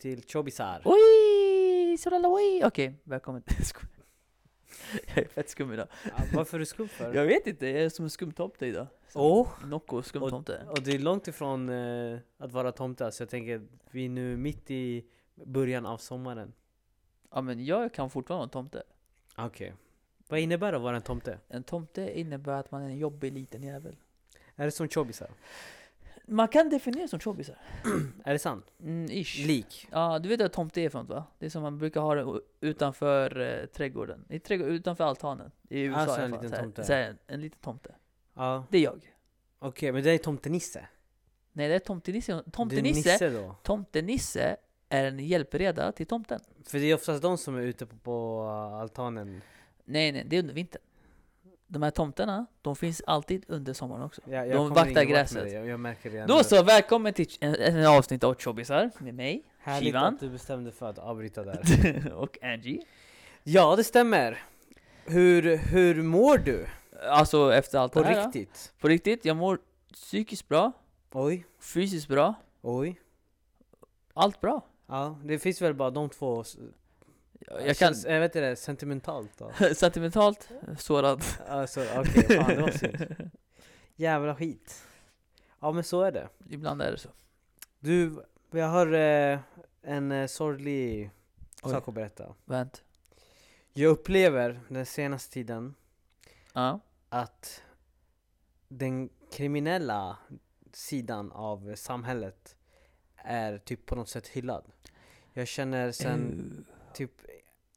till Chobisar. Oj! Solala oj! Okej, välkommen till skolan. Jag är fett skum idag. Ja, varför är du skum för? Jag vet inte, jag är som en skumtomte idag. Så- Åh! Nocco skumtomte. Och det är långt ifrån eh, att vara tomta, så jag tänker vi är nu mitt i början av sommaren. Ja men jag kan fortfarande vara en tomte. Okej. Vad innebär det att vara en tomte? En tomte innebär att man är en jobbig liten jävel. Är det som Chobisar? Man kan definiera som tjobbisar. Är det sant? Mm, ish. Lik? Ja, du vet vad tomte är för något va? Det är som man brukar ha det o- utanför eh, trädgården. I trädgården. Utanför altanen. I USA Alltså, i alla en fall. liten Så här- tomte. Så här, en liten tomte. Ja. Det är jag. Okej, men det är tomtenisse? Nej, det är tomtenisse. Det är Tomtenisse, Nisse då? tomtenisse är en hjälpreda till tomten. För det är oftast de som är ute på, på eh, altanen. Nej, nej, det är under vintern. De här tomterna, de finns alltid under sommaren också. Ja, jag De kommer vaktar ingen vart med gräset. dig, Jag, jag märker det Då så, välkommen till en, en avsnitt av Chobbisar med mig Härligt Shivan. att du bestämde för att avbryta där. och Angie. ja, det stämmer. Hur, hur mår du? Alltså efter allt På det här. ja. riktigt? På riktigt, jag mår psykiskt bra, Oj, fysiskt bra, oj. allt bra. Ja, det finns väl bara de två. s- alltså, Jag kan s- Jag vet inte, sentimentalt då. sentimentalt sårad. Alltså okej, fan det var synd. Jävla skit. Ja men så är det. Ibland är det så. Du, jag har eh, en eh, sorglig Oj. sak att berätta. Vad har hänt? Jag upplever den senaste tiden Ja. att den kriminella sidan av samhället är typ på något sätt hyllad. Jag känner Mm. sen Eh. typ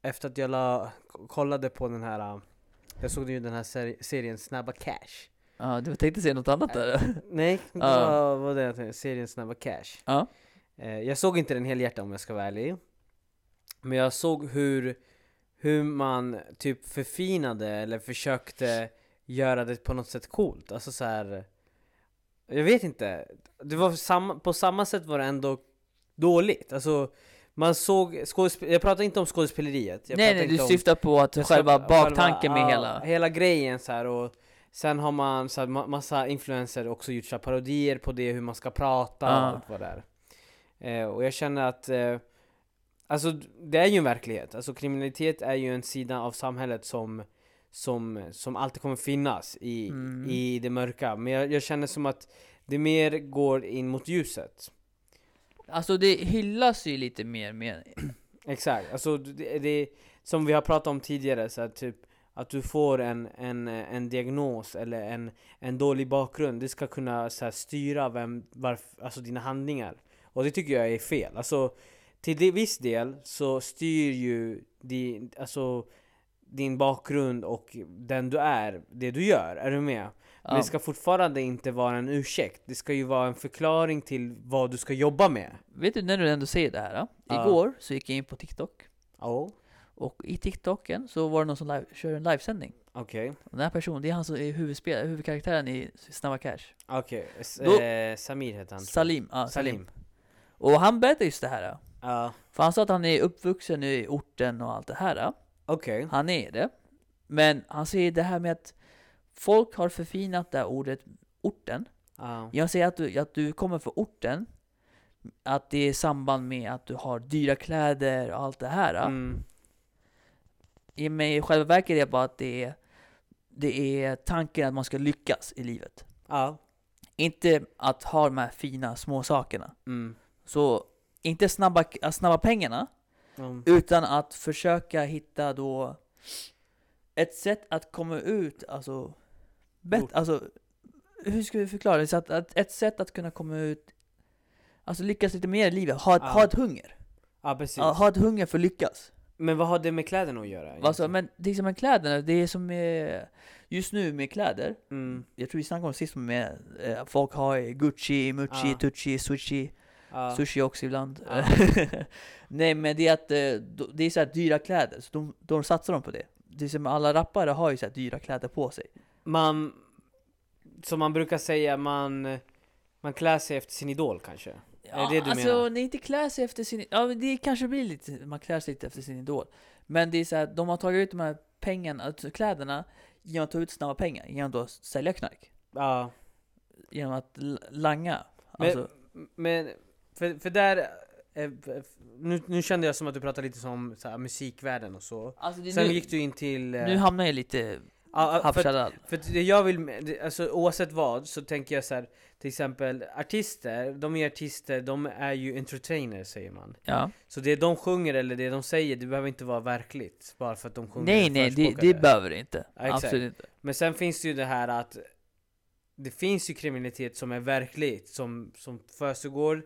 efter att jag la, k- kollade på den här, äh, jag såg ju den här seri- serien Snabba Cash. Ja, du tänkte säga något annat där? Nej, det Ja. var, var det jag tänkte, serien Snabba Cash. Ja. Eh, jag såg inte den helhjärtat om jag ska vara ärlig. Men jag såg hur, hur man typ förfinade eller försökte göra det på något sätt coolt. Alltså så här. Jag vet inte. Det var samma, på samma sätt var det ändå dåligt. Alltså man såg skådespe- Jag pratar inte om skådespeleriet. Jag Nej, pratar nej, du inte om- syftar på att jag ska- själva baktanken med ja, hela... Hela grejen så här och Sen har man så här, ma- massa influencer också gjort så här, parodier på det, hur man ska prata och Ja. allt vad det är eh, Och jag känner att eh, Alltså d- det är ju en verklighet, alltså kriminalitet är ju en sida av samhället som Som, som alltid kommer finnas i, Mm. i det mörka Men jag, jag känner som att det mer går in mot ljuset Alltså det hyllas ju lite mer med... Exakt, alltså det, det som vi har pratat om tidigare, så här, typ att du får en, en, en diagnos eller en, en dålig bakgrund, det ska kunna så här, styra vem, varf, alltså dina handlingar. Och det tycker jag är fel. Alltså, till det- viss del så styr ju din, alltså, din bakgrund och den du är, det du gör. Är du med? Men Ja. det ska fortfarande inte vara en ursäkt. Det ska ju vara en förklaring till vad du ska jobba med. Vet du när du ändå säger det här? Då? Ja. Igår så gick jag in på TikTok. Ja, Och i TikToken så var det någon som live, kör en livesändning. okej. Och Den här personen, det är han som är huvudspelare, huvudkaraktären i Snabba Cash. Okej, s- Då- eh, Samir heter han tror jag. Salim. Ja, Salim. Salim. Och han berättade just det här. Ja, För han sa att han är uppvuxen i orten och allt det här. okej. Han är det. Men han säger det här med att folk har förfinat det här ordet orten. Ja. Jag säger att du, att du kommer från orten. Att det är i samband med att du har dyra kläder och allt det här. Mm. I- Men i själva verket är det bara att det är, det är tanken att man ska lyckas i livet. Ja. Inte att ha de här fina små sakerna. Mm. Så inte snabba, snabba pengarna. Mm. Utan att försöka hitta då ett sätt att komma ut, alltså, Ort. bet, alltså hur ska vi förklara det? Så att, att ett sätt att kunna komma ut, alltså lyckas lite mer i livet, ha, ett- Ja. ha ett hunger. Ja, precis. Ja, ha ett hunger för att lyckas. Men vad har det med kläderna att göra? Alltså, egentligen? men det är som med kläderna, det är som med, just nu med kläder, Mm. jag tror vi snackade om sist med eh, folk har Gucci, Mucci, Ja. Tucci, Sushi. Ja. Sushi också ibland. Ja. Nej men det är att eh, då- det är så här dyra kläder, så de, de satsar de på det. Det är som alla rappare har ju så här dyra kläder på sig. Man, som man brukar säga, man, man klär sig efter sin idol kanske. Är det det du alltså, menar? när inte klär sig efter sin... Ja, men det kanske blir lite... Man klär sig lite efter sin idol. Men det är så här, de har tagit ut de här pengarna, alltså kläderna, genom att ta ut snabba pengar. Genom att sälja knark. Ja. Genom att l- langa. Men, Alltså, men för, för där eh, f- nu, nu kände jag som att du pratade lite som så här, musikvärlden och så. Alltså, det, Sen nu, gick du in till... eh, nu hamnar jag lite ja, ja, för, att- havsörad. för att det jag vill, med- det- alltså, oavsett vad, så tänker jag så här, till exempel artister, de är artister, de är ju entertainers säger man. Ja. Så det de sjunger eller det de säger, det behöver inte vara verkligt. Bara för att de sjunger Nej och nej, det, förespråkar det behöver det inte. Ja, exakt. Absolut inte. Men sen finns det ju det här att det finns ju kriminalitet som är verkligt, som, som försiggår.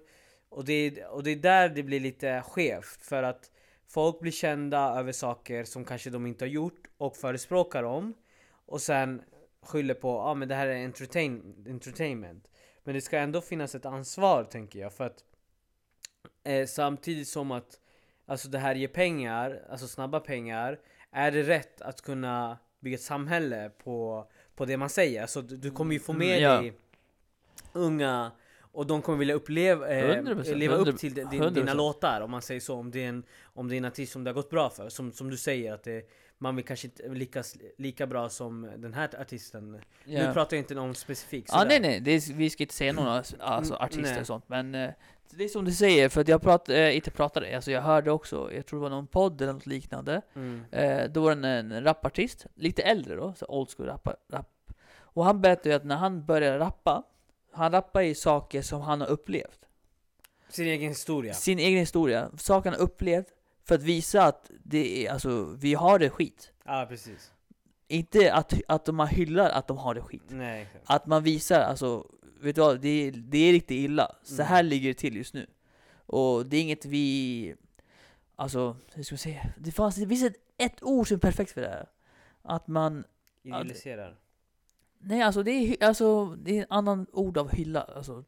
Och det, är- och det är där det blir lite skevt. För att folk blir kända över saker som kanske de inte har gjort och förespråkar dem. Och sen skyller på ja ah, men det här är entertain, entertainment. Men det ska ändå finnas ett ansvar tänker jag. För att eh, samtidigt som att alltså det här ger pengar, alltså snabba pengar. Är det rätt att kunna bygga ett samhälle på, på det man säger? Alltså du, du kommer ju få med Mm, ja. dig unga och de kommer vilja uppleva, eh, 100%, leva upp 100%, till din, din, dina 100%. låtar om man säger så. Om det är en, om det är en artist som det har gått bra för. Som, som du säger att det, man vill kanske inte lyckas lika bra som den här artisten. Nu Ja. pratar jag inte om specifikt. Ja, sådär. nej nej, det är, vi ska inte säga några alltså, Mm, artister nej. och sånt men eh, det är som du säger, för att jag prat, eh, inte pratade, alltså jag hörde också, jag tror det var någon podd eller något liknande Mm. Eh, då var det en, en rapartist, lite äldre då, så old school rappa, rap. Och han berättade ju att när han började rappa, han rappar i saker som han har upplevt. Sin egen historia. Sin egen historia, saker han har upplevt för att visa att det är, alltså, vi har det skit. Ja, precis. Inte att, att man hyllar att de har det skit. Nej, exakt. Att man visar, alltså, vet du vad, det, är- det är riktigt illa. Så Mm. här ligger det till just nu. Och det är inget vi, alltså, hur ska man säga? Det fanns, det finns ett, ett ord som är perfekt för det här. Att man Ja, det- Idealiserar. Nej, alltså det är, hy- alltså, det är en annan ord av hylla. Alltså,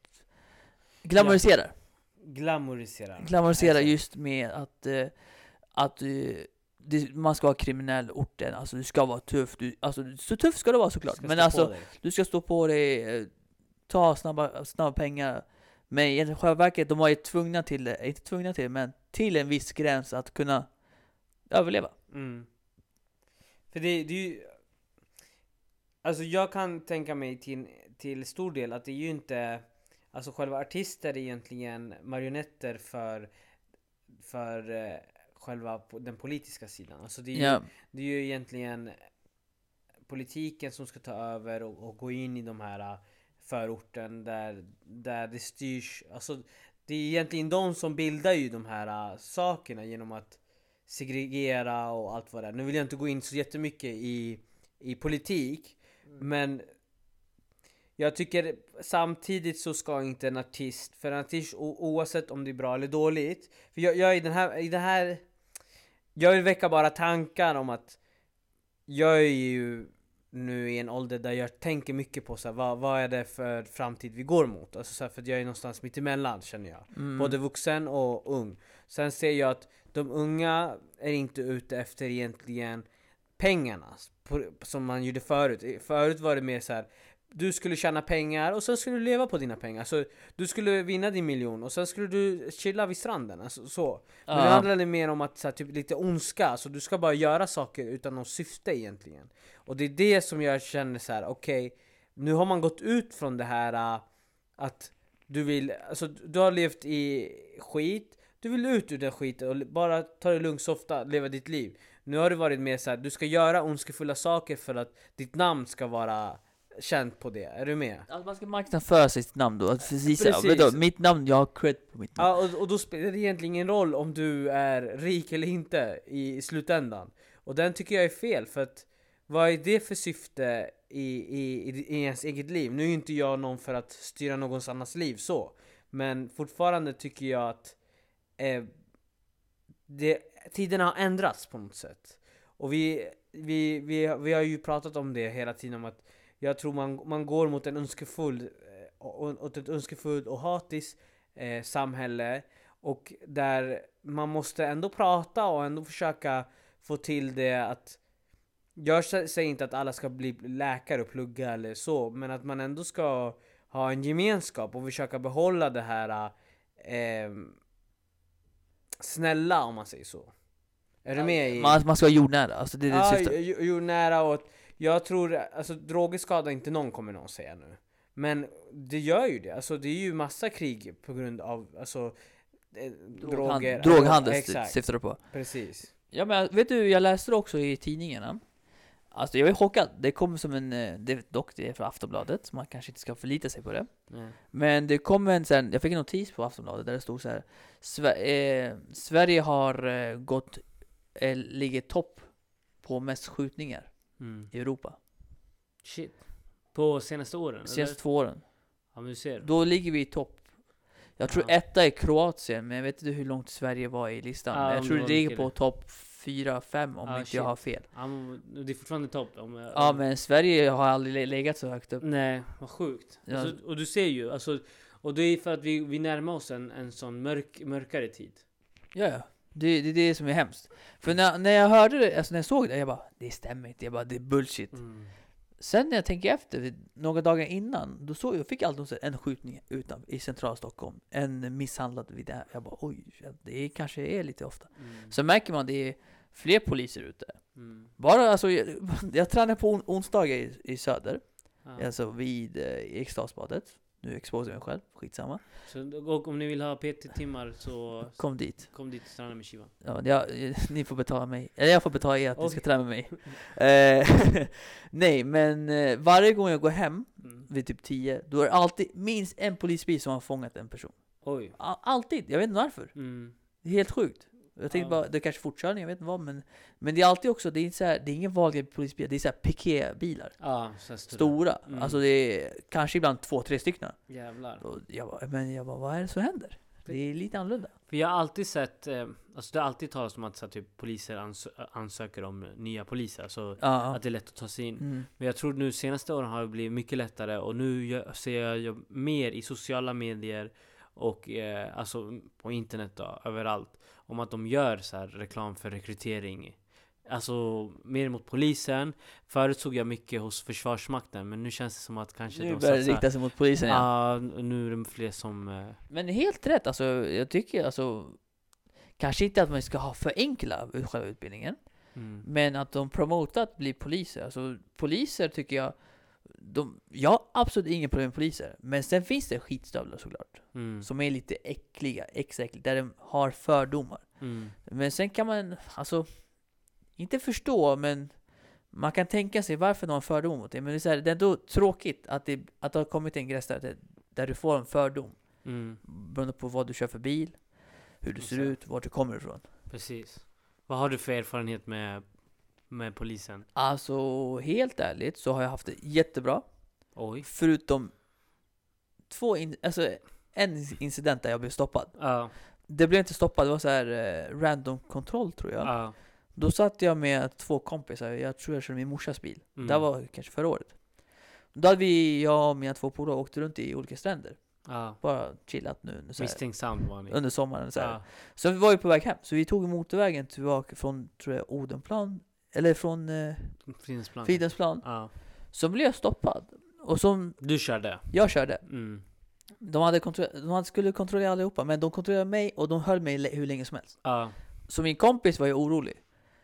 glamorisera. Glamoriserar. Glamorisera Exakt. just med att, eh, att eh, det, man ska ha kriminell orten. Alltså du ska vara tuff. Du, alltså, så tuff ska du vara såklart. Ska Men stå på alltså, dig. du ska stå på dig, eh, ta snabba, snabba pengar. Men i själva verket, de var ju tvungna till det. Inte tvungna till, men till en viss gräns att kunna överleva. Mm. För det, det är ju... Alltså jag kan tänka mig till, till stor del att det är ju inte... Alltså själva artister är egentligen marionetter för, för eh, själva po- den politiska sidan. Alltså det är ju, Ja, det är ju egentligen politiken som ska ta över och, och gå in i de här eh, förorten där, där det styrs. Alltså, det är egentligen de som bildar ju de här eh, sakerna genom att segregera och allt vad det är. Nu vill jag inte gå in så jättemycket i, i politik, men jag tycker samtidigt så ska inte en artist, för en artist o- oavsett om det är bra eller dåligt, för jag, jag är i den här, i den här jag vill väcka bara tankar om att jag är ju nu i en ålder där jag tänker mycket på så här, vad, vad är det för framtid vi går mot? Alltså så här, för att jag är någonstans mitt emellan känner jag. mm, Både vuxen och ung. Sen ser jag att de unga är inte ute efter egentligen pengarna på, som man gjorde förut. I- Förut var det mer så här. Du skulle tjäna pengar och sen skulle du leva på dina pengar. Så du skulle vinna din miljon och sen skulle du chilla vid stranden. Alltså, så. Men det Ja. handlar det mer om att så här, typ, lite ondska, så du ska bara göra saker utan något syfte egentligen. Och det är det som jag känner så här: okej, nu har man gått ut från det här äh, att du vill, alltså du har levt i skit, du vill ut ur den skiten och l- bara ta det lugnt, softa, leva ditt liv. Nu har det varit mer så här: du ska göra ondskefulla saker för att ditt namn ska vara känt på det, är du med? Alltså man ska marknadsföra sitt namn då, att visa, Precis. Precis. mitt namn, jag har cred på mitt namn. Ja, och, och då spelar det egentligen ingen roll om du är rik eller inte i, i slutändan. Och den tycker jag är fel, för att vad är det för syfte i, i, i- i ens eget liv? Nu är ju inte jag någon för att styra någons annans liv så, men fortfarande tycker jag att eh, det, tiderna har ändrats på något sätt. Och vi, vi, vi, vi har ju pratat om det hela tiden, om att jag tror man, man går mot en önskefull, eh, och- åt ett önskefullt och hatiskt eh, samhälle. Och där man måste ändå prata och ändå försöka få till det att jag sä- säger inte att alla ska bli läkare och plugga eller så, men att man ändå ska ha en gemenskap och försöka behålla det här eh, snälla om man säger så. Är du med? I... Man, man ska vara jordnära, alltså det är det Ja, syftet. jo, jo, nära och att- jag tror, alltså droger skadar inte någon kommer någon säga nu. Men det gör ju det, alltså det är ju massa krig på grund av, alltså eh, Droghan- droger. Droghandel Ja, sy- Exakt, syftar du på. precis. Ja men vet du, jag läste det också i tidningarna. Alltså jag är chockad. Det kom som en, eh, det, dock det är från Aftonbladet, så man kanske inte ska förlita sig på det. Ja. Men det kom en sen, jag fick en notis på Aftonbladet där det stod så här. Sve- eh, Sverige har eh, gått, eh, ligger topp på mest skjutningar Mm. i Europa. Shit. På senaste åren? De senaste två åren. eller? Ja, men du ser. Då ligger vi i topp. Jag tror Ja. etta är Kroatien, men jag vet inte hur långt Sverige var i listan. Ja, men jag om tror det det var ligger mycket på topp 4-5 om Ja, inte shit. jag har fel. Ja, men det är fortfarande topp. Om, jag- Ja om- men Sverige har aldrig le- legat så högt upp. Nej, vad sjukt. Ja. Alltså, och du ser ju, alltså, och det är för att vi, vi närmar oss en, en sån mörk, mörkare tid. Ja, ja. Det, det är det som är hemskt. För när, när jag hörde det, alltså när jag såg det, jag bara det stämmer inte, jag bara det är bullshit. Mm. Sen när jag tänker efter, det- några dagar innan, då såg jag, fick jag alltid en skjutning utan, i centrala Stockholm. En misshandlad vid det här. Jag bara oj, det är, kanske är lite ofta. Mm. Så märker man det är fler poliser ute. Mm. Bara alltså, jag, jag tränar på on, onsdagar i, i söder, Ja. alltså vid eh, i Eriksdalsbadet. Nu exposerar jag mig själv, skitsamma. Så, och om ni vill ha PT-timmar så Kom dit. kom dit och träna med Shiva. Ja, jag, ni får betala mig. Eller jag får betala er att ni ska Oj. träna med mig. Eh, nej, men eh, varje gång jag går hem Mm. vid typ 10, då är det alltid minst en polisbil som har fångat en person. Oj. A- alltid, jag vet inte varför. Mm. Det är helt sjukt. Jag tänkte Ja. bara, det är kanske fortkörning, jag vet inte vad. Men, men det är alltid också, det är, inte så här, det är ingen vanlig polisbil, det är så här pikébilar. Ja, så här stora. Stora. Mm. Alltså det är kanske ibland två, tre stycken. Jävlar. Och jag bara, men jag bara, vad är det som händer? Det är lite annorlunda. För jag har alltid sett, eh, alltså det har alltid talats om att så här, typ, poliser ans- ansöker om nya poliser. Alltså Ja. att det är lätt att ta sig in. Mm. Men jag tror nu senaste åren har det blivit mycket lättare och nu gö- ser jag ju mer i sociala medier och eh, alltså på internet då, överallt om att de gör så här reklam för rekrytering. Alltså mer mot polisen. Förut såg jag mycket hos Försvarsmakten men nu känns det som att kanske Nu de börjar det satsar- rikta sig mot polisen igen. Ja, nu är det fler som... eh, Men helt rätt, alltså jag tycker alltså Kanske inte att man ska ha förenkla ut- själva utbildningen Mm. Men att de promotar att bli poliser Alltså poliser tycker jag de, Jag har absolut inga problem med poliser Men sen finns det skitstövlar såklart Mm. Som är lite äckliga, extra äckliga Där de har fördomar Mm. Men sen kan man, alltså Inte förstå men Man kan tänka sig varför de har fördom mot det Men det är, så här, det är ändå tråkigt att det, att det har kommit en gräns där, där- där du får en fördom Mm. beroende på vad du kör för bil, hur du ser Exakt. ut, vart du kommer ifrån. Precis. Vad har du för erfarenhet med, med polisen? Alltså helt ärligt så har jag haft det jättebra. Oj. Förutom två in- alltså, en incident där jag blev stoppad. Ja. Det blev inte stoppad, det var så här eh, random kontroll tror jag. Ja. Då satt jag med två kompisar, jag tror jag körde min morsas bil. Mm. Det här var kanske förra året. Då hade vi, jag och mina två polare åkt runt i olika stränder. Ja. Bara chillat nu under, så här, Misstänksam var ni. under sommaren. Så här. Ja. Så vi var ju på väg hem, så vi tog motorvägen tillbaka från, tror jag, Odenplan, eller från eh, Fridhemsplan. Fridhemsplan. Ja. Så blev jag stoppad. Och som Du körde? jag körde, Mm. de, hade kontro- de hade skulle kontrollera allihopa, men de kontrollerade mig och de höll mig le- hur länge som helst. Ja. Så min kompis var ju orolig.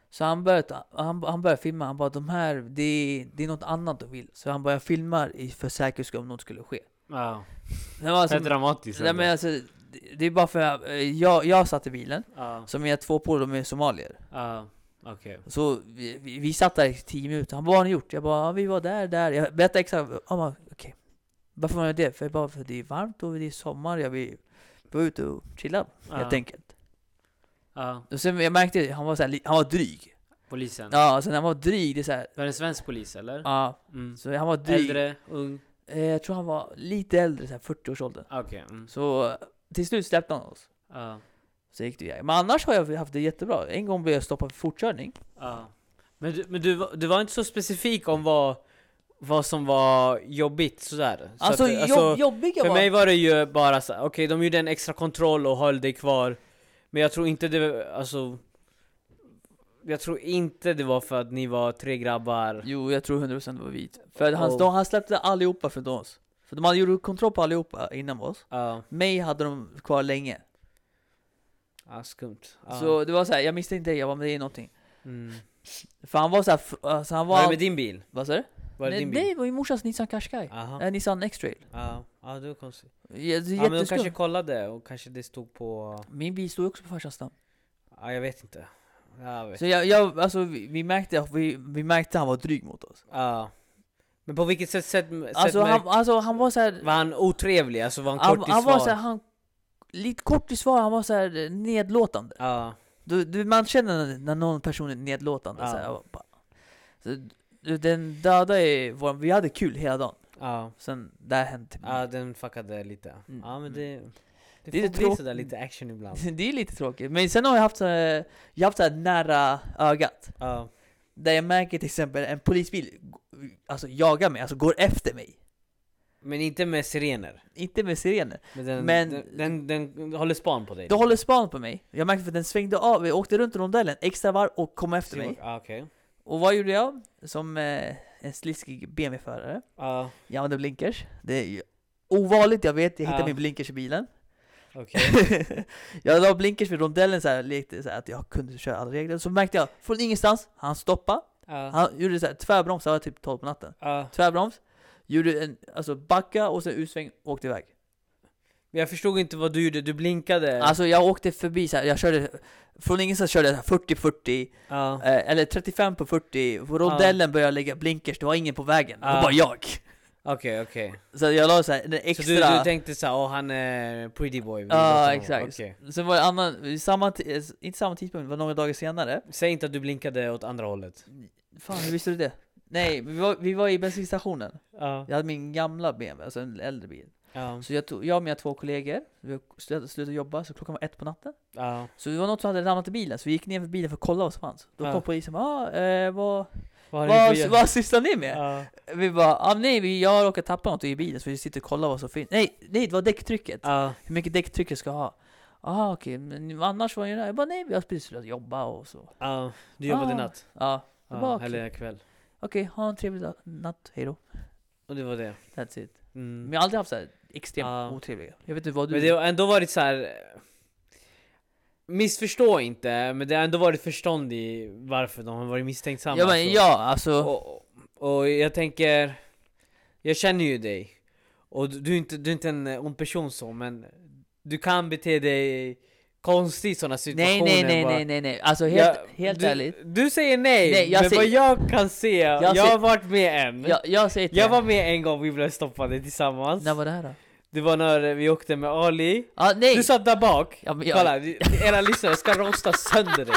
Så han började, ta- han, han började filma, han bara de här, det är, det är något annat de vill. Så han bara jag filmar i- för säkerhets skull om något skulle ske. ja. Det var Det alltså, är dramatiskt. nej, ändå. men alltså, det- det är bara för att eh, jag, jag satt i bilen, Ja. så mina två polare de är somalier. Ja. Okej. Så vi, vi, vi satt där i tio minuter, han bara vad har ni gjort? Jag bara ja, vi var där, där. Jag berättade exakt, han bara okej. Varför var ni det? För jag bara för det är varmt och det är sommar, jag vill vara ute och chilla Ja. helt enkelt. Ja. Och sen jag märkte, han var, så här, li- han var dryg. Polisen. Ja, sen han var dryg, det är så här, Var det en svensk polis eller? ja. Mm. Så han var dryg. Äldre? Ung? Eh, jag tror han var lite äldre, så här 40-årsåldern. Okej. Mm. Så eh, till slut släppte han oss. Ja. Så gick det iväg. Men annars har jag haft det jättebra. En gång blev jag stoppad för fortkörning. Ja. Men, du, men du, var- du var inte så specifik om vad, vad som var jobbigt sådär? Så Alltså, att, jobb, jobbiga För var... mig var det ju bara så här, okej de gjorde en extra kontroll och höll dig kvar Men jag tror inte det, alltså Jag tror inte det var för att ni var tre grabbar Jo, jag tror 100% det var vit. För han, Oh. de, han släppte allihopa förutom oss. För de hade gjort kontroll på allihopa innan oss. Ja, Mig hade de kvar länge. ja skumt ja. Så det var så här, jag misstänkte det, jag bara men det är någonting. mm. För han var så här, f- alltså han Var var... det med din bil? Vad sa du? Var det Nej, din bil? det var ju morsans Nissan Qashqai. Aha. Eh, Nissan X-trail. Ja, ja det var konstigt. Ja, det är Ja, men de jätteskumt. kanske kollade och kanske det stod på... Min bil stod ju också på farsans namn. Ja, jag vet inte. Jag vet. Så jag, jag alltså vi, vi märkte att vi, vi märkte att han var dryg mot oss. Ja. Men på vilket sätt, sätt, sätt Alltså märk- han, alltså han var såhär, var han otrevlig? Alltså var han han, kort i han var svar? såhär, han, lite kort i svar, han var såhär nedlåtande. Ja, Du, du, man känner när, när någon person är nedlåtande Ja. så här, och bara, så, du, Den döda är vår, vi hade kul hela dagen. ja. Sen det här hände typ. Ja, den fuckade lite. Mm. Ja, men det... Det, Det är får lite bli tråkigt. sådär lite action ibland. Det är lite tråkigt. Men sen har jag haft så här, jag har haft så här nära ögat. Ja, Där jag märker till exempel en polisbil g- alltså, jagar mig, alltså går efter mig. men inte med sirener. Inte med sirener. Men den, Men- den, den, den, håller span på dig. Det håller span på mig. Jag märkte för att den svängde av, jag åkte runt rondellen extra varv och kom efter mig. Ja, okej. Och vad gjorde jag? Som eh, en sliskig BMW-förare. Ja, Jag använde blinkers. Det är ju ovanligt, jag vet. Jag hittade Ja. min blinkers i bilen. okej. jag la blinkers vid rondellen så här, lekte så här att jag kunde köra alla regler. Så märkte jag från ingenstans, han stoppade. Ja, Han gjorde så här tvärbroms, det var typ 12 på natten. ja. Tvärbroms, gjorde en, alltså backa och sen utsväng och åkte iväg. Men jag förstod inte vad du gjorde, du blinkade. Alltså jag åkte förbi så här, jag körde, från ingenstans körde jag 40-40, Ja. eh, eller 35 på 40, på rondellen började jag lägga blinkers, det var ingen på vägen, det var Ja. bara jag. Okej, okej. Så jag la så här, en Ah. Så extra... du, du tänkte såhär, åh han är pretty boy. vi Ja, låter honom." exakt. Okej. Sen var det annan, i samma, ti- eh, inte samma tidpunkt, det var några dagar senare. Säg inte att du blinkade åt andra hållet. Fan, hur visste du det? Nej, vi var, vi var i bensinstationen. Ja. Jag hade min gamla BMW, alltså en äldre bil. Ja. Så jag, tog, jag och mina två kollegor, vi slutade, slutade jobba, så klockan var ett på natten. Ja. Så det var något som hade ramlat i bilen, så vi gick ner för bilen för att kolla vad som fanns. Då Ja. kom polisen och bara, ah, eh, vad, Vad har vad, du vad sysslar ni med? Ja. Vi bara, ah, nej, vi, jag har råkat tappa något i bilen så vi sitter och kollar vad som finns. Nej, nej, det var däcktrycket. Ja. Hur mycket däcktryck jag ska ha. Ah, okej, men annars var ju det här. Jag bara, nej, vi har precis slutat jobba och så. Ja. Du jobbade Ah. natt. Ja, Det var Ja, okej. eller kväll. okej, ha en trevlig dag- natt, hejdå. Och det var det. That's it. Mm. Men jag har aldrig haft så här extremt Ja. otrevliga. Jag vet inte vad du... Men det har ändå varit så här. eh, Missförstå inte, men det har ändå varit förstånd i varför de har varit misstänksamma. ja, men, så. ja, alltså... Och, och jag tänker, jag känner ju dig. Och du- du är, inte, du är inte en eh, ond person så, men du kan bete dig konstigt i sådana situationer. nej, nej, nej, bara. nej, nej, nej. Alltså helt, Jag- helt du, ärligt. Du säger nej, Nej, jag men säger- vad jag kan se, jag, ser- har varit med en. Jag, jag säger till jag er. var med en gång vi blev stoppade tillsammans. När var det här då? Det var när vi åkte med Ali. Ah, nej! Du satt där bak. ja, men jag, Kolla, vi- era lyssnare ska rosta sönder dig.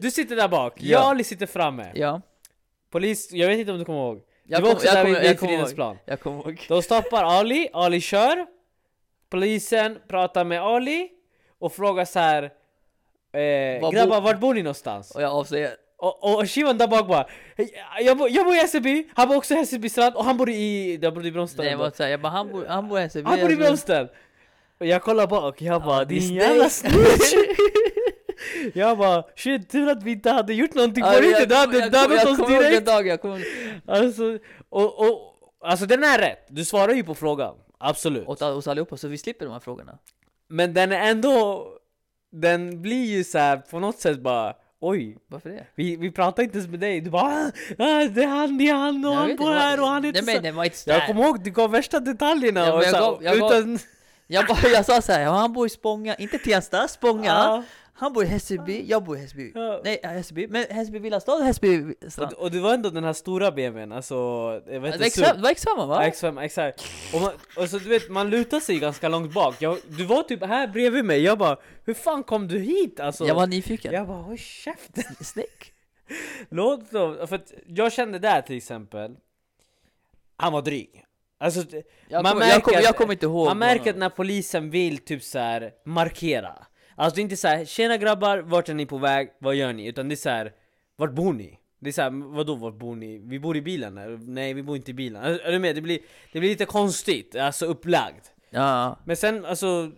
Du sitter där bak, Ja. jag och Ali sitter framme. Ja. Polis, jag vet inte om du kommer ihåg? Jag du var kom- också jag där kommer- vid- jag vid kommer Fridens ihåg. plan. Jag kommer ihåg. De stoppar Ali, Ali kör. Polisen pratar med Ali och frågar så här. Eh, Var grabbar, bo- vart bor ni någonstans? Och jag avslöjar. Och, och, och Shivan där bak bara "Hej, jag, bo, jag bor i Hässelby, han bor också i Hässelby strand och han bor i... Jag bodde i Bromsta. Nej, jag bara såhär, jag bara han bor, han bor i SEB. han bor i Bromsta! Och jag kollar bak, jag bara din jävla snitch! Jag bara shit, tur att vi inte hade gjort någonting Ja, på jag- riktigt, du hade jag kommer- dödat Jag oss kommer ihåg den direkt! dagen, jag kommer ihåg. Alltså, och, och, alltså den är rätt, du svarar ju på frågan, absolut. Åt oss allihopa, så vi slipper de här frågorna. Men den är ändå, den blir ju så här på något sätt bara oj, Varför det? vi, vi pratar inte ens med dig, du bara ah, ah, det är han, det är han och Jag vet han inte, bor det var- här och han är inte Nej men så... det var inte Jag sådär. kommer ihåg, du gav värsta detaljerna Ja, men och jag så, här, gav- jag gav- utan... Jag, bara, jag sa såhär, ja, han bor i Spånga, inte Tensta, Spånga. Ja. Han bor i Hässelby, jag bor i Hässelby. Ja. Nej, ja, Hässelby, men Hässelby villastad, Hässelby Och, strand. och det var ändå den här stora BMWn, alltså... eh, Vad Det heter var SUV? extra- det var examen Ja, va? X5, exakt. Och, man, och så du vet, man lutar sig ganska långt bak. Jag, du var typ här bredvid mig, jag bara Hur fan kom du hit? Alltså, Jag var nyfiken. jag bara håll käften! Snygg. Låt dem, för att jag kände där till exempel Han var dryg. Alltså, det- Jag Man kommer- jag märker kommer- att- Jag kommer inte ihåg. man märker att honom. när polisen vill typ så här markera Alltså det är inte så här, tjena grabbar, vart är ni på väg? Vad gör ni? Utan det är så här, vart bor ni? Det är såhär, vadå vart bor ni? Vi bor i bilen? eller? Nej vi bor inte i bilen. Är är du med? Det blir, det blir lite konstigt, alltså upplagt. Ja, Men sen alltså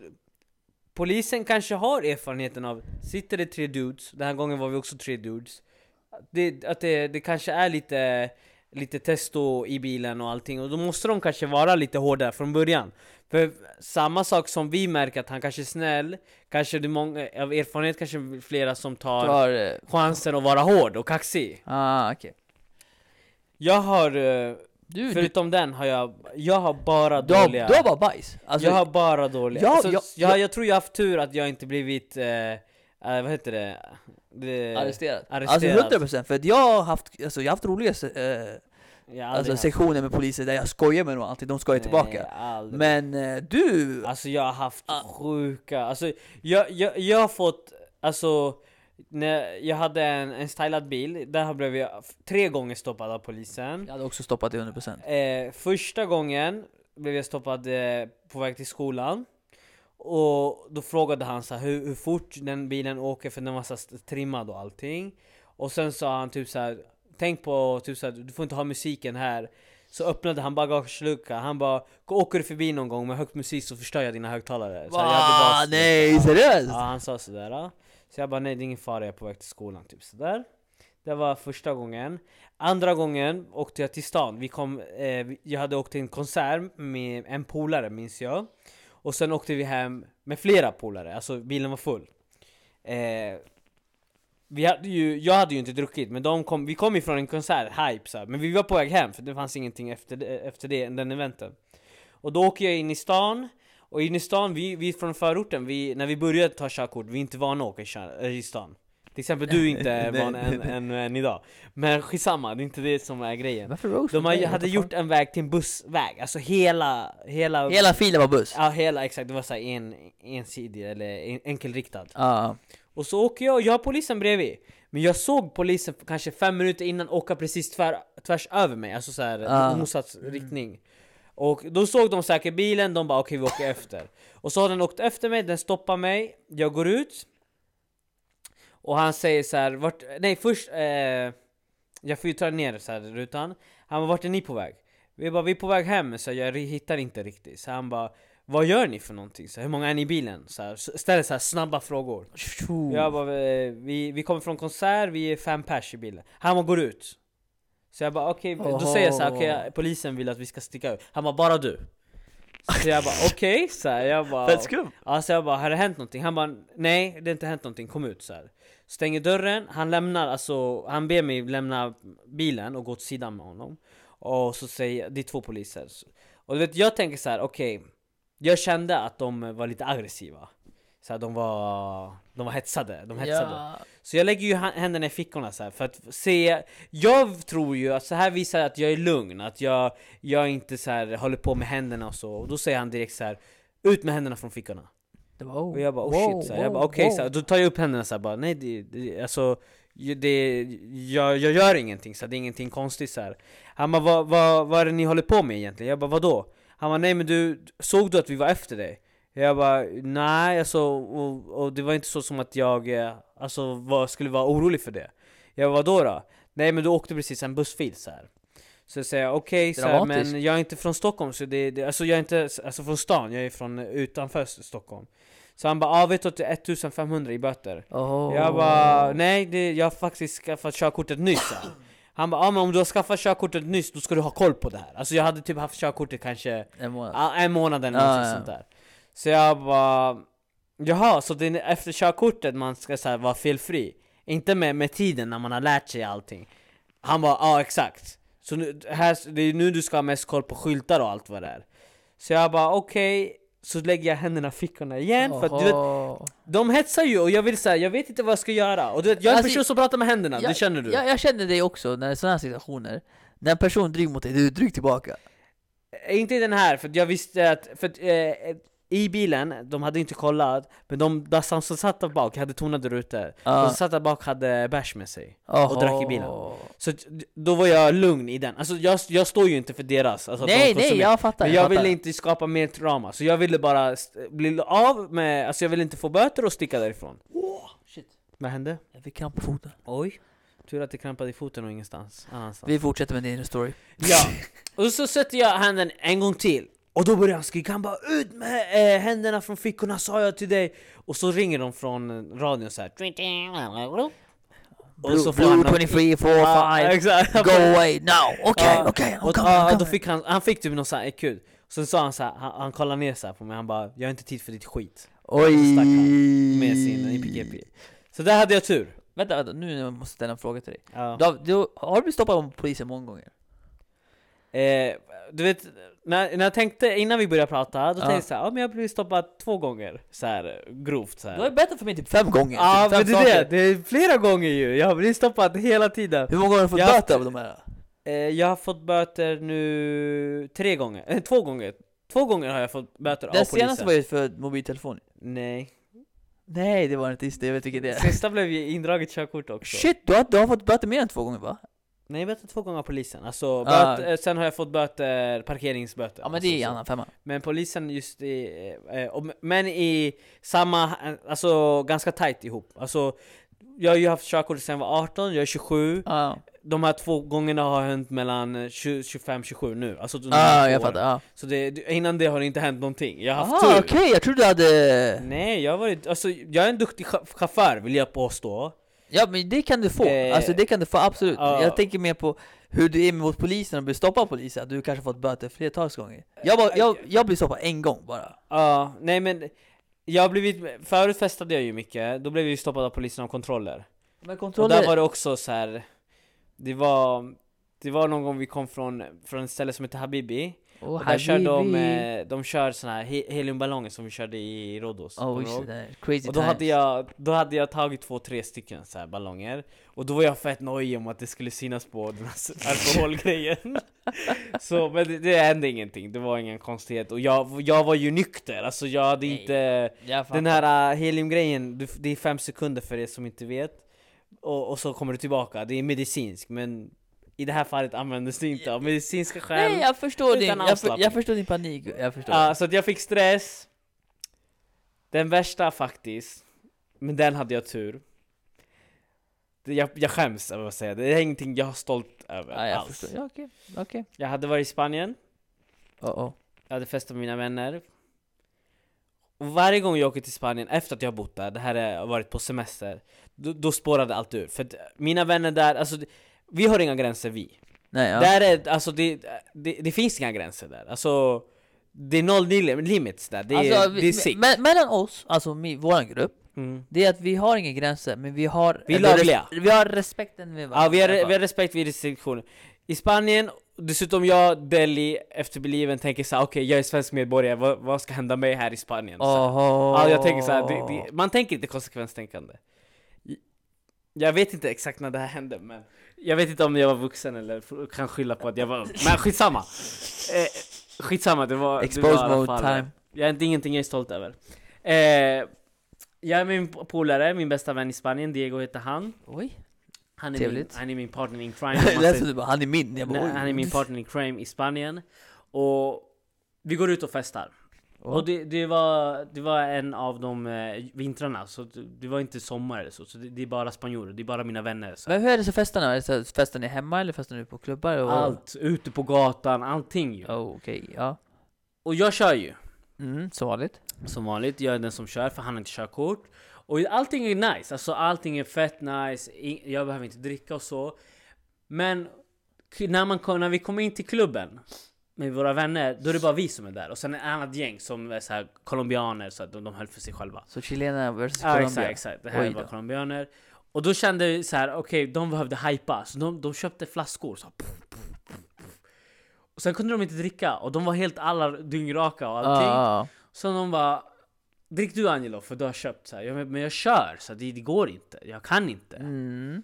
Polisen kanske har erfarenheten av, sitter det tre dudes, den här gången var vi också tre dudes Det, att det, det kanske är lite, lite testo i bilen och allting och då måste de kanske vara lite hårdare från början För samma sak som vi märker att han kanske är snäll, kanske det är många, av erfarenhet kanske flera som tar tar... eh, chansen att vara hård och kaxig Ah, okej. Jag har, eh, Du, du, förutom den har jag, jag har bara du, har, dåliga du har bara bajs. Alltså, Jag har bara dåliga, Ja, alltså, ja, jag, jag, ja. tror jag har haft tur att jag inte blivit, eh, eh, vad heter det? det arresterad. arresterad. Alltså 100% för att jag har haft, alltså, jag har haft roliga eh, jag har aldrig alltså, haft- sektioner med poliser där jag skojar med dem alltid, de skojar Nej, tillbaka. aldrig. Men eh, du, Alltså jag har haft Ah. sjuka, alltså jag, jag, jag har fått, alltså när jag hade en, en stylad bil, där blev jag f- tre gånger stoppad av polisen jag hade också stoppat det 100%. eh, Första gången blev jag stoppad eh, på väg till skolan Och då frågade han så här, hur, hur fort den bilen åker för den var så här st- trimmad och allting Och sen sa han typ så här, tänk på typ så här, du får inte ha musiken här Så öppnade han bagageluckan, han bara Åker du förbi någon gång med högt musik så förstör jag dina högtalare så här, jag hade Va? bara- Ah, Nej, Ja, seriöst? han sa sådär. Så jag bara nej det är ingen fara, jag är på väg till skolan. Typ sådär. Det var första gången. Andra gången åkte jag till stan. Vi kom, eh, vi- jag hade åkt till en konsert med en polare minns jag. Och sen åkte vi hem med flera polare, alltså bilen var full. Eh, vi hade ju, jag hade ju inte druckit, men de kom, vi kom ju från en konsert, hype så här. Men vi var på väg hem för det fanns ingenting efter, det- efter det, den eventen. Och då åker jag in i stan, och in i stan, vi, vi från förorten, vi, när vi började ta körkort, vi är inte vana att åka i, kör, äh, i stan. Till exempel du är inte Nej, van nej, än, nej. än, än idag. Men skitsamma, det är inte det som är grejen. Varför roast? De har- hade gjort en väg till en bussväg, alltså hela... Hela, Hela filen var buss? Ja, hela exakt. Det var så här en, ensidig eller en, enkelriktad. Ja. Och så åker jag, jag har polisen bredvid. Men jag såg polisen f- kanske fem minuter innan åka precis tvär, tvärs över mig, alltså så här Ah. motsatt riktning. Och då såg de säkert bilen, de bara okej vi åker efter. Och så har den åkt efter mig, den stoppar mig, jag går ut. Och han säger så här, vart, nej först, eh, jag får ju ta ner så här rutan. Han bara vart är ni på väg? Vi bara vi är på väg hem, så jag ri- hittar inte riktigt. Så han bara vad gör ni för någonting? Så här, hur många är ni i bilen? Så här, s- ställer så här snabba frågor. Tjo. Jag bara, eh, vi, vi kommer från konsert, vi är fem pers i bilen. Han bara, går ut. Så jag bara, okej, då säger jag så här, okej, polisen vill att vi ska sticka ut. Han bara, bara du. Så jag bara, okej, så här, jag bara... Fett skum! Ja, så Alltså jag bara, har det hänt någonting? Han bara, nej det har inte hänt någonting, kom ut så här. Stänger dörren, han lämnar, alltså han ber mig lämna bilen och gå åt sidan med honom. Och så säger, det är två poliser. Och du vet, jag tänker så här, okej. jag kände att de var lite aggressiva. Så här, de var, de var hetsade, de hetsade. Ja. Så jag lägger ju ha- händerna i fickorna så här för att se Jag tror ju att så här visar att jag är lugn, att jag, jag inte så här håller på med händerna och så Och då säger han direkt så här Ut med händerna från fickorna! Det var, oh, Och jag bara oh wow, shit så här. jag wow, bara okej wow. så här. då tar jag upp händerna så här, bara nej det, det alltså ju- det, jag, jag gör ingenting så här, det är ingenting konstigt så här. Han bara vad, vad, vad är det ni håller på med egentligen? Jag bara vadå? Han bara nej men du, såg du att vi var efter dig? Jag bara nej alltså, och, och det var inte så som att jag eh, alltså, var, skulle vara orolig för det Jag bara vadå då? Nej men du åkte precis en bussfil så här. Så jag säger okej, så här, Dramatiskt. men jag är inte från Stockholm, så det, det, alltså jag är inte alltså från stan, jag är från eh, utanför Stockholm Så han bara ah, vet du att det är 1500 i böter? Oh. Jag bara nej, det, jag har faktiskt skaffat körkortet nyss så här. Han bara ah, men om du har skaffat körkortet nyss då ska du ha koll på det här Alltså jag hade typ haft körkortet kanske En månad. Ja, en månad eller Ja, någonting ja. sånt där. Så jag bara, jaha, så det är efter körkortet man ska så här, vara felfri? Inte med, med tiden när man har lärt sig allting. Han bara, ja exakt. Så nu, här, det är nu du ska ha mest koll på skyltar och allt vad det är. Så jag bara, okej. Så lägger jag händerna i fickorna igen, för att du vet, Oho. de hetsar ju och jag vill säga, jag vet inte vad jag ska göra. Och du vet, jag är en Alltså, person som pratar med händerna, jag- det känner du. Jag, jag känner dig också när det är sådana här situationer. När en person är dryg mot dig, du är dryg tillbaka. Eh, Inte i den här, för att jag visste att, för att, eh, i bilen, de hade inte kollat, men de där som som satt där bak hade tonade rutor, de Ja. som satt där bak hade bärs med sig. Oho. drack i bilen. Alltså, Så att, då var jag lugn i den, alltså jag, jag står ju inte för deras, alltså att Nej, nej, de konsumerar. jag fattar. Men jag fattar. ville inte skapa mer drama, så jag ville bara st- bli av med, alltså jag ville inte få böter och sticka därifrån. Shit. Vad hände? Jag fick kramp på foten. Oj. Tur att det krampade i foten och ingenstans annanstans. Vi fortsätter med din story. Ja, och så sätter jag handen en gång till och då börjar han skrika, han bara ut med eh, händerna från fickorna sa jag till dig Och så ringer de från radion så här. Blue, blue 23, 4, Ja, 5, exakt. go away now! Okej, okay, Ja. okej, okay, Och, I'm coming, ja, I'm då coming. fick han, han fick typ någon sån här ekul Sen sa han så här, han, han kollade ner så här på mig, han bara 'Jag har inte tid för ditt skit' Oj! stack med Mm. sin i PGP Så där hade jag tur! Vänta, vänta, nu måste jag ställa en fråga till dig. Ja. Du har, du, har du blivit stoppad av polisen många gånger? Eh, du vet, när, när jag tänkte innan vi började prata, då Ja. tänkte jag såhär, ja men jag blev stoppad två gånger. Så här, grovt så här. Du har ju berättat för mig typ fem gånger. Ja typ men fem det är det, saker. det är flera gånger ju. Jag har blivit stoppad hela tiden. Hur många gånger har du fått Jag har böter av de här? Eh, jag har fått böter nu tre gånger, eh, två gånger. Två gånger har jag fått böter av Den polisen. senaste var ju för mobiltelefon. Nej. Nej, det var inte. Just det, jag vet vilket det är. Sista blev ju indraget körkort också. Shit, du har, du har fått böter mer än två gånger va? Nej, böter två gånger av polisen. Alltså, Ah. böter, eh, sen har jag fått böter, parkeringsböter. Ja men det är en alltså, så. annan femma. Men polisen just i, eh, eh, om- men i samma, eh, alltså ganska tight ihop. Alltså, jag har ju haft körkort sedan jag var 18, jag är 27. Ja, De här två gångerna har hänt mellan eh, 20, 25, 27 nu. Alltså de här ah, två jag åren. fattar. Ja. Så det, det- innan det har det inte hänt någonting. Jag har haft Ah, tur. okej, jag trodde du hade... Nej, jag har varit, alltså jag är en duktig cha- chaufför vill jag påstå. Ja men det kan du få, Eh, alltså det kan du få absolut. ja. Jag tänker mer på hur du är mot polisen och blir stoppad av polisen, att du kanske fått böter flertals gånger. Jag, bara, jag, jag blir stoppad en gång bara. Ja, nej men jag har blivit, förut festade jag ju mycket, då blev jag ju stoppad av polisen av kontroller. Men Och kontroller... där var det också så här. det var, det var någon gång vi kom från, från ett ställe som heter Habibi, Åh, och där kör de, habibi. eh, de kör såna här he- heliumballonger som vi körde i Rhodos. Oh kommer du just det, ihåg? det är crazy Och då times. hade, jag, då hade jag tagit två, tre stycken så här ballonger Och då var jag fett nojig om att det skulle synas på den här s- alkoholgrejen Så men det, det hände ingenting, det var ingen konstighet Och jag, jag var ju nykter, alltså jag hade Nej, inte jag fattar. Den här äh, heliumgrejen, du f- det är fem sekunder för er som inte vet och, och så kommer du tillbaka, det är medicinsk men i det här fallet användes det inte av medicinska skäl Nej jag förstår Utan din, jag, för, avslappning. jag förstår din panik, jag förstår. Ja, så att jag fick stress. Den värsta faktiskt, men den hade jag tur. Det- Jag, jag skäms över att säga det, det är ingenting jag är stolt över ja, jag alls. förstår. Ja, okej, okej. Jag hade varit i Spanien, Oh, oh. jag hade festat med mina vänner. Och varje gång jag åker till Spanien efter att jag har bott där, det här är- har varit på semester, då, då spårade allt ur. För att mina vänner där, alltså det- vi har inga gränser vi. Nej, ja. Där är, alltså det, det, det finns inga gränser där. Alltså, det är noll lim- limits där. Det är, Alltså, det är vi, sick. me, mellan oss, alltså mi, våran grupp, Mm. det är att vi har inga gränser, men vi har... Vi är ändå lagliga. res- Vi har respekten med Ja, vi, har, i alla vi fall. har respekt vid restriktioner. I Spanien, dessutom jag, Delhi, efter beliven tänker såhär okej jag är svensk medborgare, vad, vad ska hända mig här i Spanien? Så här. Oho. Ja, jag tänker så här, det, det, man tänker inte konsekvenstänkande. Jag vet inte exakt när det här hände, men jag vet inte om jag var vuxen eller f- kan skylla på att jag var ung. Men skitsamma! Eh, skitsamma, det var... det var i Expose alla mode fall- time. Jag är inte ingenting jag är stolt över. Eh, jag är min po- polare, min bästa vän i Spanien, Diego heter han. Oj. Han är, min, Trevligt. han är min partner in crime. om man Det lät säger- som du bara, han är min. Jag bara, Nej, oj. han är min partner in crime i Spanien. Och vi går ut och festar. Ja. Och det, det, var, det var en av de eh, vintrarna, så det, det var inte sommar eller så. Så det, det är bara spanjorer, det är bara mina vänner. Så. Men hur är det så festarna? Är det så här, festar ni hemma eller festar ni på klubbar? Och... Allt, ute på gatan, allting ju. Oh, Okej, ja. Och jag kör ju. Mm, som vanligt. Som vanligt, jag är den som kör för han har inte körkort. Och allting är nice, alltså allting är fett nice, I- jag behöver inte dricka och så. Men k- när, man kom, när vi kommer in till klubben med våra vänner, då är det bara vi som är där. Och sen ett annat gäng som är så här, colombianer, så att de, de höll för sig själva. Så chilenarna versus Ja Colombia. exakt, exakt. Det här Oj var då. colombianer. Och då kände vi så här, okej de behövde hypa, så de, de köpte flaskor. Så här, puff, puff, puff, puff. Och sen kunde de inte dricka, och de var helt alla dyngraka och allting. Ja, ja, Så de bara Drick du Angelo för du har köpt så här. Jag, bara, men jag kör så det, det går inte, jag kan inte. ja. Mm.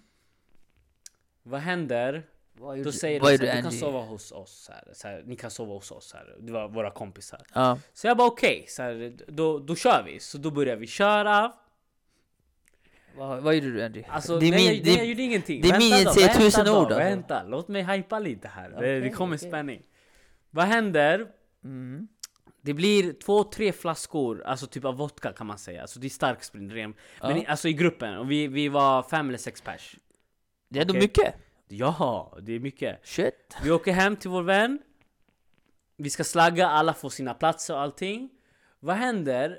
Vad händer? Vad Då säger vad de är så här, du du kan Angie? sova hos oss, så här, så här, ni kan sova hos oss, så här. det var våra kompisar. Ja. Så jag bara okej, så här, då, då kör vi. Så då börjar vi köra. Vad, vad gjorde du Angie? Alltså, det är nej, min, jag, det, nej, jag gjorde ingenting. det är min då, säger tusen då, ord, alltså. Vänta, låt mig hypa lite här. det, det Okej, kommer okej. spänning. Vad händer? mm. Det blir två, tre flaskor, alltså typ av vodka kan man säga. Alltså det är stark sprit, ren. Men Ja. i, alltså i gruppen, och vi, vi var fem eller sex pers. Det är ändå Okej. mycket. Ja, det är mycket. Shit. Vi åker hem till vår vän. Vi ska slagga, alla får sina platser och allting. Vad händer?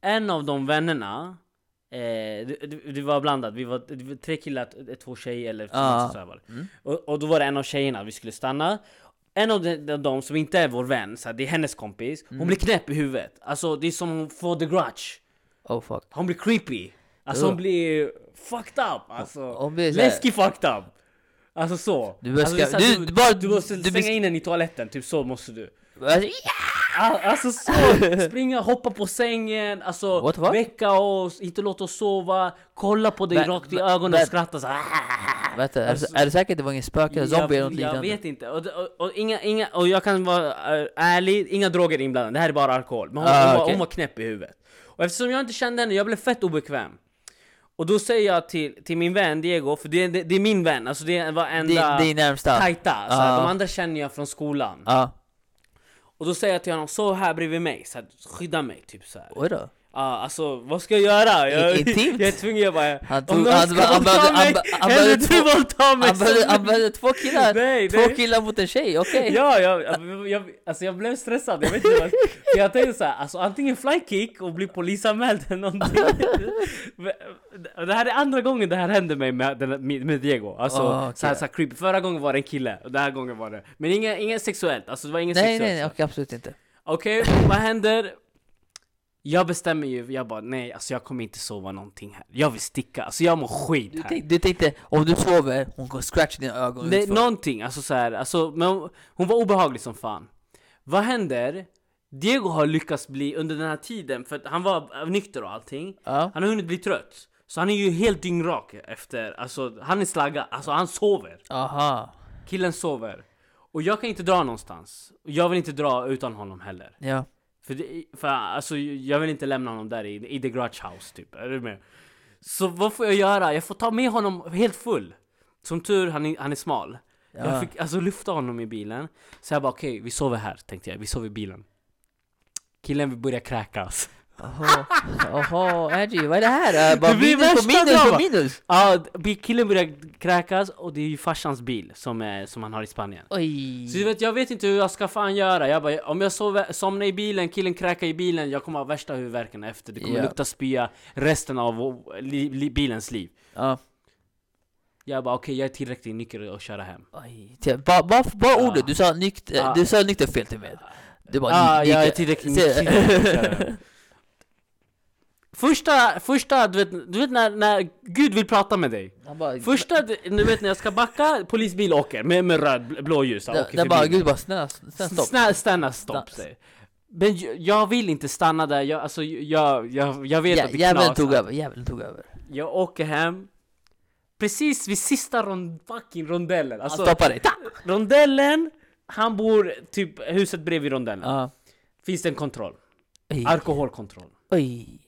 En av de vännerna, eh, det, det- det var blandat, vi var, det var tre killar, t- två tjejer eller Ja. så här var det. Mm. Och, och då var det en av tjejerna, vi skulle stanna. En av de, av dem som inte är vår vän, så här, det är hennes kompis, hon blir knäpp i huvudet. Alltså det är som hon får the grudge. Oh fuck. Hon blir creepy. Alltså Ugh. hon blir fucked up. Alltså, Hon blir så här- läskig fucked up. Alltså så! Du bara alltså, det är ska- så här, du- bara- du måste du stänga bes- in den i toaletten, typ så måste du Alltså, Al- Alltså så! Springa, hoppa på sängen, alltså What, what? väcka oss, inte låta oss sova Kolla på dig Vä- rakt i vä- ögonen vä- och skratta såhär Vänta, är, det- är det säkert att det var ingen spöke eller zombie eller något Alltså, jag, liknande? jag vet inte, och, och, och, inga, inga, och jag kan vara eh, ärlig, inga droger inblandade, det här är bara alkohol Men hon, Ah, hon, var, okej. hon var knäpp i huvudet Och eftersom jag inte kände henne, jag blev fett obekväm Och då säger jag till, till min vän Diego, för det, det, det är min vän, alltså det var Det, enda det är närmsta. tajta så här, Ah. De andra känner jag från skolan Ja. Och då säger jag till honom, så här bredvid mig, så här, skydda mig typ så här. Oj då. Ja, alltså vad ska jag göra? Jag, Intimt? jag är tvungen, jag bara... Han tog- om någon han ska bara- han bara- våldta han mig, bara- han bara- hellre du våldtar mig! Han behövde, som- han behövde två killar. Nej, två nej. killar mot en tjej, okej. Ja, jag, jag, jag, alltså jag blev stressad, jag vet inte vad, för jag tänkte såhär, alltså antingen flykick och bli polisanmäld eller någonting Men eh, Det här är andra gången det här hände mig med, den- med, med Diego, alltså Ah, okej. så här, så här creepy Förra gången var det en kille, och den här gången var det Men inget, inget sexuellt, alltså det var inget Nej, sexuellt nej, nej, så. okej, absolut inte. Okej, vad händer? Jag bestämmer ju, jag bara nej alltså jag kommer inte sova någonting här Jag vill sticka, alltså jag mår skit Du här tänkte, du tänkte om du sover, hon går scratch dina ögon Det, utför. någonting, alltså så här, alltså, men hon, hon var obehaglig som fan. Vad händer? Diego har lyckats bli, under den här tiden, för att han var eh, nykter och allting, Ja. han har hunnit bli trött. Så han är ju helt dyngrak efter, alltså han är slaggad, alltså han sover. Aha. Killen sover. Och jag kan inte dra någonstans. Och Jag vill inte dra utan honom heller. Ja. För, det, för alltså, jag vill inte lämna honom där i, i the grudge house typ, är du med? Så vad får jag göra? Jag får ta med honom helt full Som tur, han är, han är smal Ja. Jag fick alltså lyfta honom i bilen Så jag bara okej, vi sover här tänkte jag, vi sover i bilen Killen vill börja kräkas Aha. Aha, Angie, vad är det här? Äh, bara Det blir minus på värsta minus på drama. minus. Ja, d- killen börjar kräkas och det är ju farsans bil som, är, som han har i Spanien Oj. Så du vet, jag vet inte hur jag ska fan göra. Jag bara, om jag sover, somnar i bilen, killen kräkar i bilen, jag kommer ha värsta huvudvärken efter. Det kommer Ja. lukta spya resten av vår- li, li, bilens liv. Ja. Jag bara, okej jag är tillräckligt nykter att köra hem. Oj. Te- Bara, bara, bara Ja. ordet, du sa nykt, Ja. du sa nykter fel till mig. Du bara Ah, ny- jag är nykter. tillräckligt Se- nykter att köra hem. Första, första, du vet, du vet när, när Gud vill prata med dig. Han bara, Första, du vet när jag ska backa, polisbil åker med, med röd, bl- blåljus. den, åker den bara, förbi mig. gud bara snälla, snälla stopp. Snälla stanna, stopp Stanna. säger Men j- jag vill inte stanna där, jag, alltså, jag, jag, jag vet Ja, att det Djävulen knas tog över, djävulen tog över. Jag åker hem Precis vid sista rond, fucking rondellen Han Alltså stoppade dig. Ta! rondellen Han bor typ huset bredvid rondellen Ja. Finns det en kontroll? Oj. Alkoholkontroll Oj.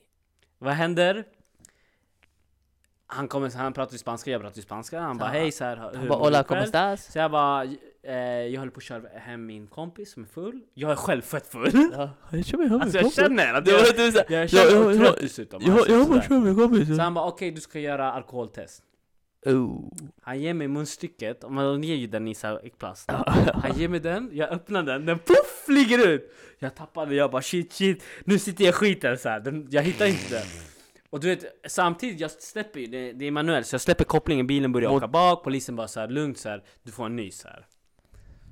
Vad händer? Han, kommer, han pratar ju spanska, jag pratar ju spanska Han bara Ja. hej så här, hur Han bara, mår du hola, själv?" Alltså, como estas? Så jag bara, eh, jag håller på att köra hem min kompis som är full Jag är själv fett full Ja, jag kör mig hem Alltså jag känner att Det jag, var du sa. jag känner jag- mig jag- trött dessutom Jag, alltså, jag bara sådär. kör mig kompis. Så han bara okej du ska göra alkoholtest Oh. Han ger mig munstycket, och man ger ju den i så här plast Han ger mig den, jag öppnar den, den puff flyger ut! Jag tappar den, jag bara shit shit, nu sitter jag i skiten så här. Den, jag hittar inte den Och du vet, samtidigt jag släpper ju, det, det är manuellt så jag släpper kopplingen, bilen börjar Mot- åka bak, polisen bara så här lugnt så här. du får en ny så här.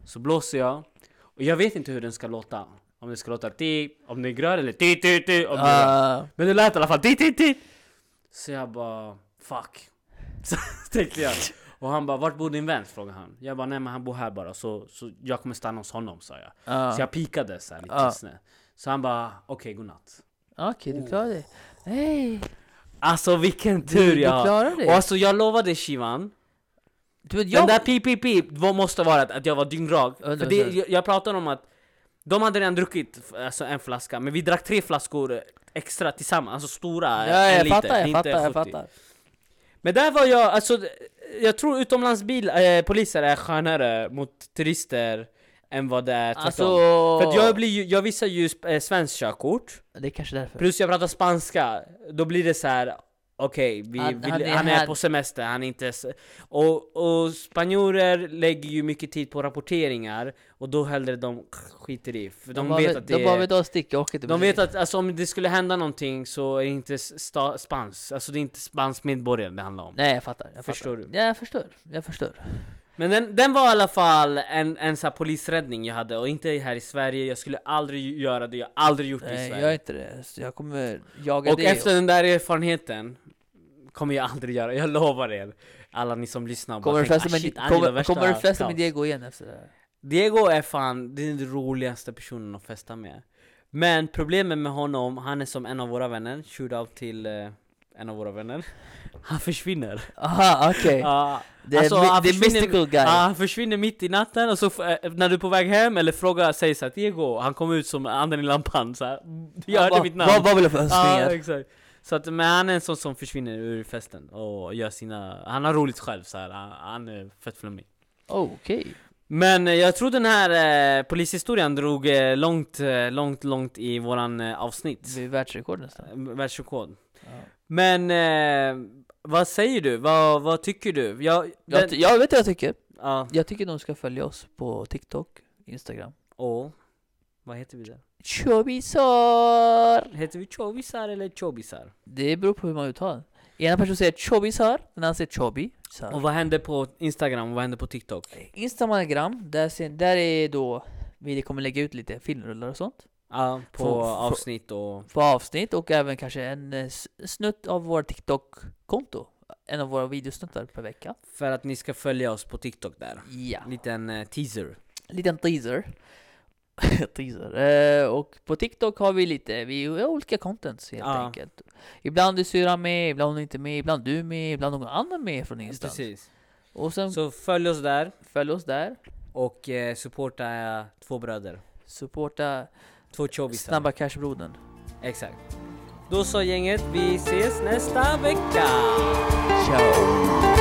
Så blåser jag, och jag vet inte hur den ska låta Om den ska låta ti, om den är grön eller ti ti ti, om den är röd. Ah. Men det lät i alla fall dit, dit, dit. Så jag bara, fuck. Så tänkte jag. Och han bara, vart bor din vän? Frågade han. Jag bara, nej men han bor här bara, så, så jag kommer stanna hos honom sa jag. Ah. Så jag pikade så här lite Ja. snett. Så han bara, okej godnatt. Okej, du klarade det. Hej! Alltså vilken Du, Oh. tur du jag har. klarade Och det. alltså jag lovade Shivan, Du vet, den jag... där pip pip pip vad måste vara att- att jag var dyngrak. Undra, För det, undra. jag, jag pratade om att de hade redan druckit f- alltså en flaska, men vi drack tre flaskor extra tillsammans, alltså stora, Ja, en jag liter. fattar, Det är jag inte typ. fattar, jag 70. fattar. Men där var jag, alltså jag tror utomlandsbil, eh, poliser är skönare mot turister än vad det är tvärtom. Alltså... För att jag, blir ju, jag visar ju sp- eh, svenskt körkort, Det är kanske därför. plus jag pratar spanska, då blir det så här. Okej, vi, Han- vill, han han, är är här. på semester, han är inte... s- Och, och spanjorer lägger ju mycket tid på rapporteringar, och då hellre de skiter i, för de, bara vet att det De bara är... vet att sticka, jag orkar inte. De vet att alltså, om det skulle hända någonting så är det inte sta- spans, alltså det är inte spansk medborgare det handlar om. Nej, jag fattar. Jag Förstår fattar. du? Ja, jag förstår. Jag förstår. Men den, den var i alla fall en, en så här polisräddning jag hade och inte här i Sverige, jag skulle aldrig göra det, jag har aldrig gjort det i Nej, Sverige. jag är inte det. Så jag kommer jaga och dig. efter den där erfarenheten kommer jag aldrig göra, jag lovar er. alla ni som lyssnar Kommer bara de tänker, flesta, ah, shit, med, han är den kommer, värsta kommer de flesta med kaos." Diego igen efter det här? Diego är fan den roligaste personen att festa med Men problemet med honom, han är som en av våra vänner Shootout till eh, en av våra vänner Han försvinner Aha, okej. Ja, Det är Alltså, mi- han det är försvinner- mystical guy. ja, Ah, han försvinner mitt i natten och så f- eh, när du är på väg hem eller frågar säger såhär Diego, han kom ut som anden i lampan såhär Jag hörde Vad- mitt Vad, namn vad vill du för Ja önskningar? exakt Så att, men han är en sån som försvinner ur festen och gör sina, han har roligt själv såhär, han, han är fett flummig Oh, Okej. men eh, jag tror den här eh, polishistorien drog eh, långt, eh, långt, långt i våran eh, avsnitt. Det är världsrekord nästan. Eh, Världsrekord. Ja. Men eh, vad säger du? Vad, vad tycker du? Jag, den, Jag, ty- jag vet vad jag tycker. ja. Jag tycker de ska följa oss på TikTok, Instagram. Och, vad heter vi där? Chobisar! Heter vi Chobisar eller Chobisar? Det beror på hur man uttalar det. Ena personen säger chobisar, den andra säger chobi. Och vad händer på Instagram och vad händer på TikTok? Instagram, där, ser, där är då vi kommer lägga ut lite filmrullar och sånt. Ja, på Få- få- avsnitt och... På avsnitt och även kanske en eh, s- snutt av vår TikTok-konto. En av våra videosnuttar per vecka. För att ni ska följa oss på TikTok där. Ja. Liten eh, teaser. Liten teaser. teaser. Eh, och på TikTok har vi lite, vi har olika contents helt Ja. enkelt. Ibland är syrran med, ibland är hon inte med, ibland du med, ibland någon annan med från ingenstans. Precis. Och sen Så följ oss där följ oss där, och eh, supporta eh, två bröder. supporta Två Chobisar. Snabba Cash-brodern. Exakt. Då så gänget, vi ses nästa vecka! Ciao!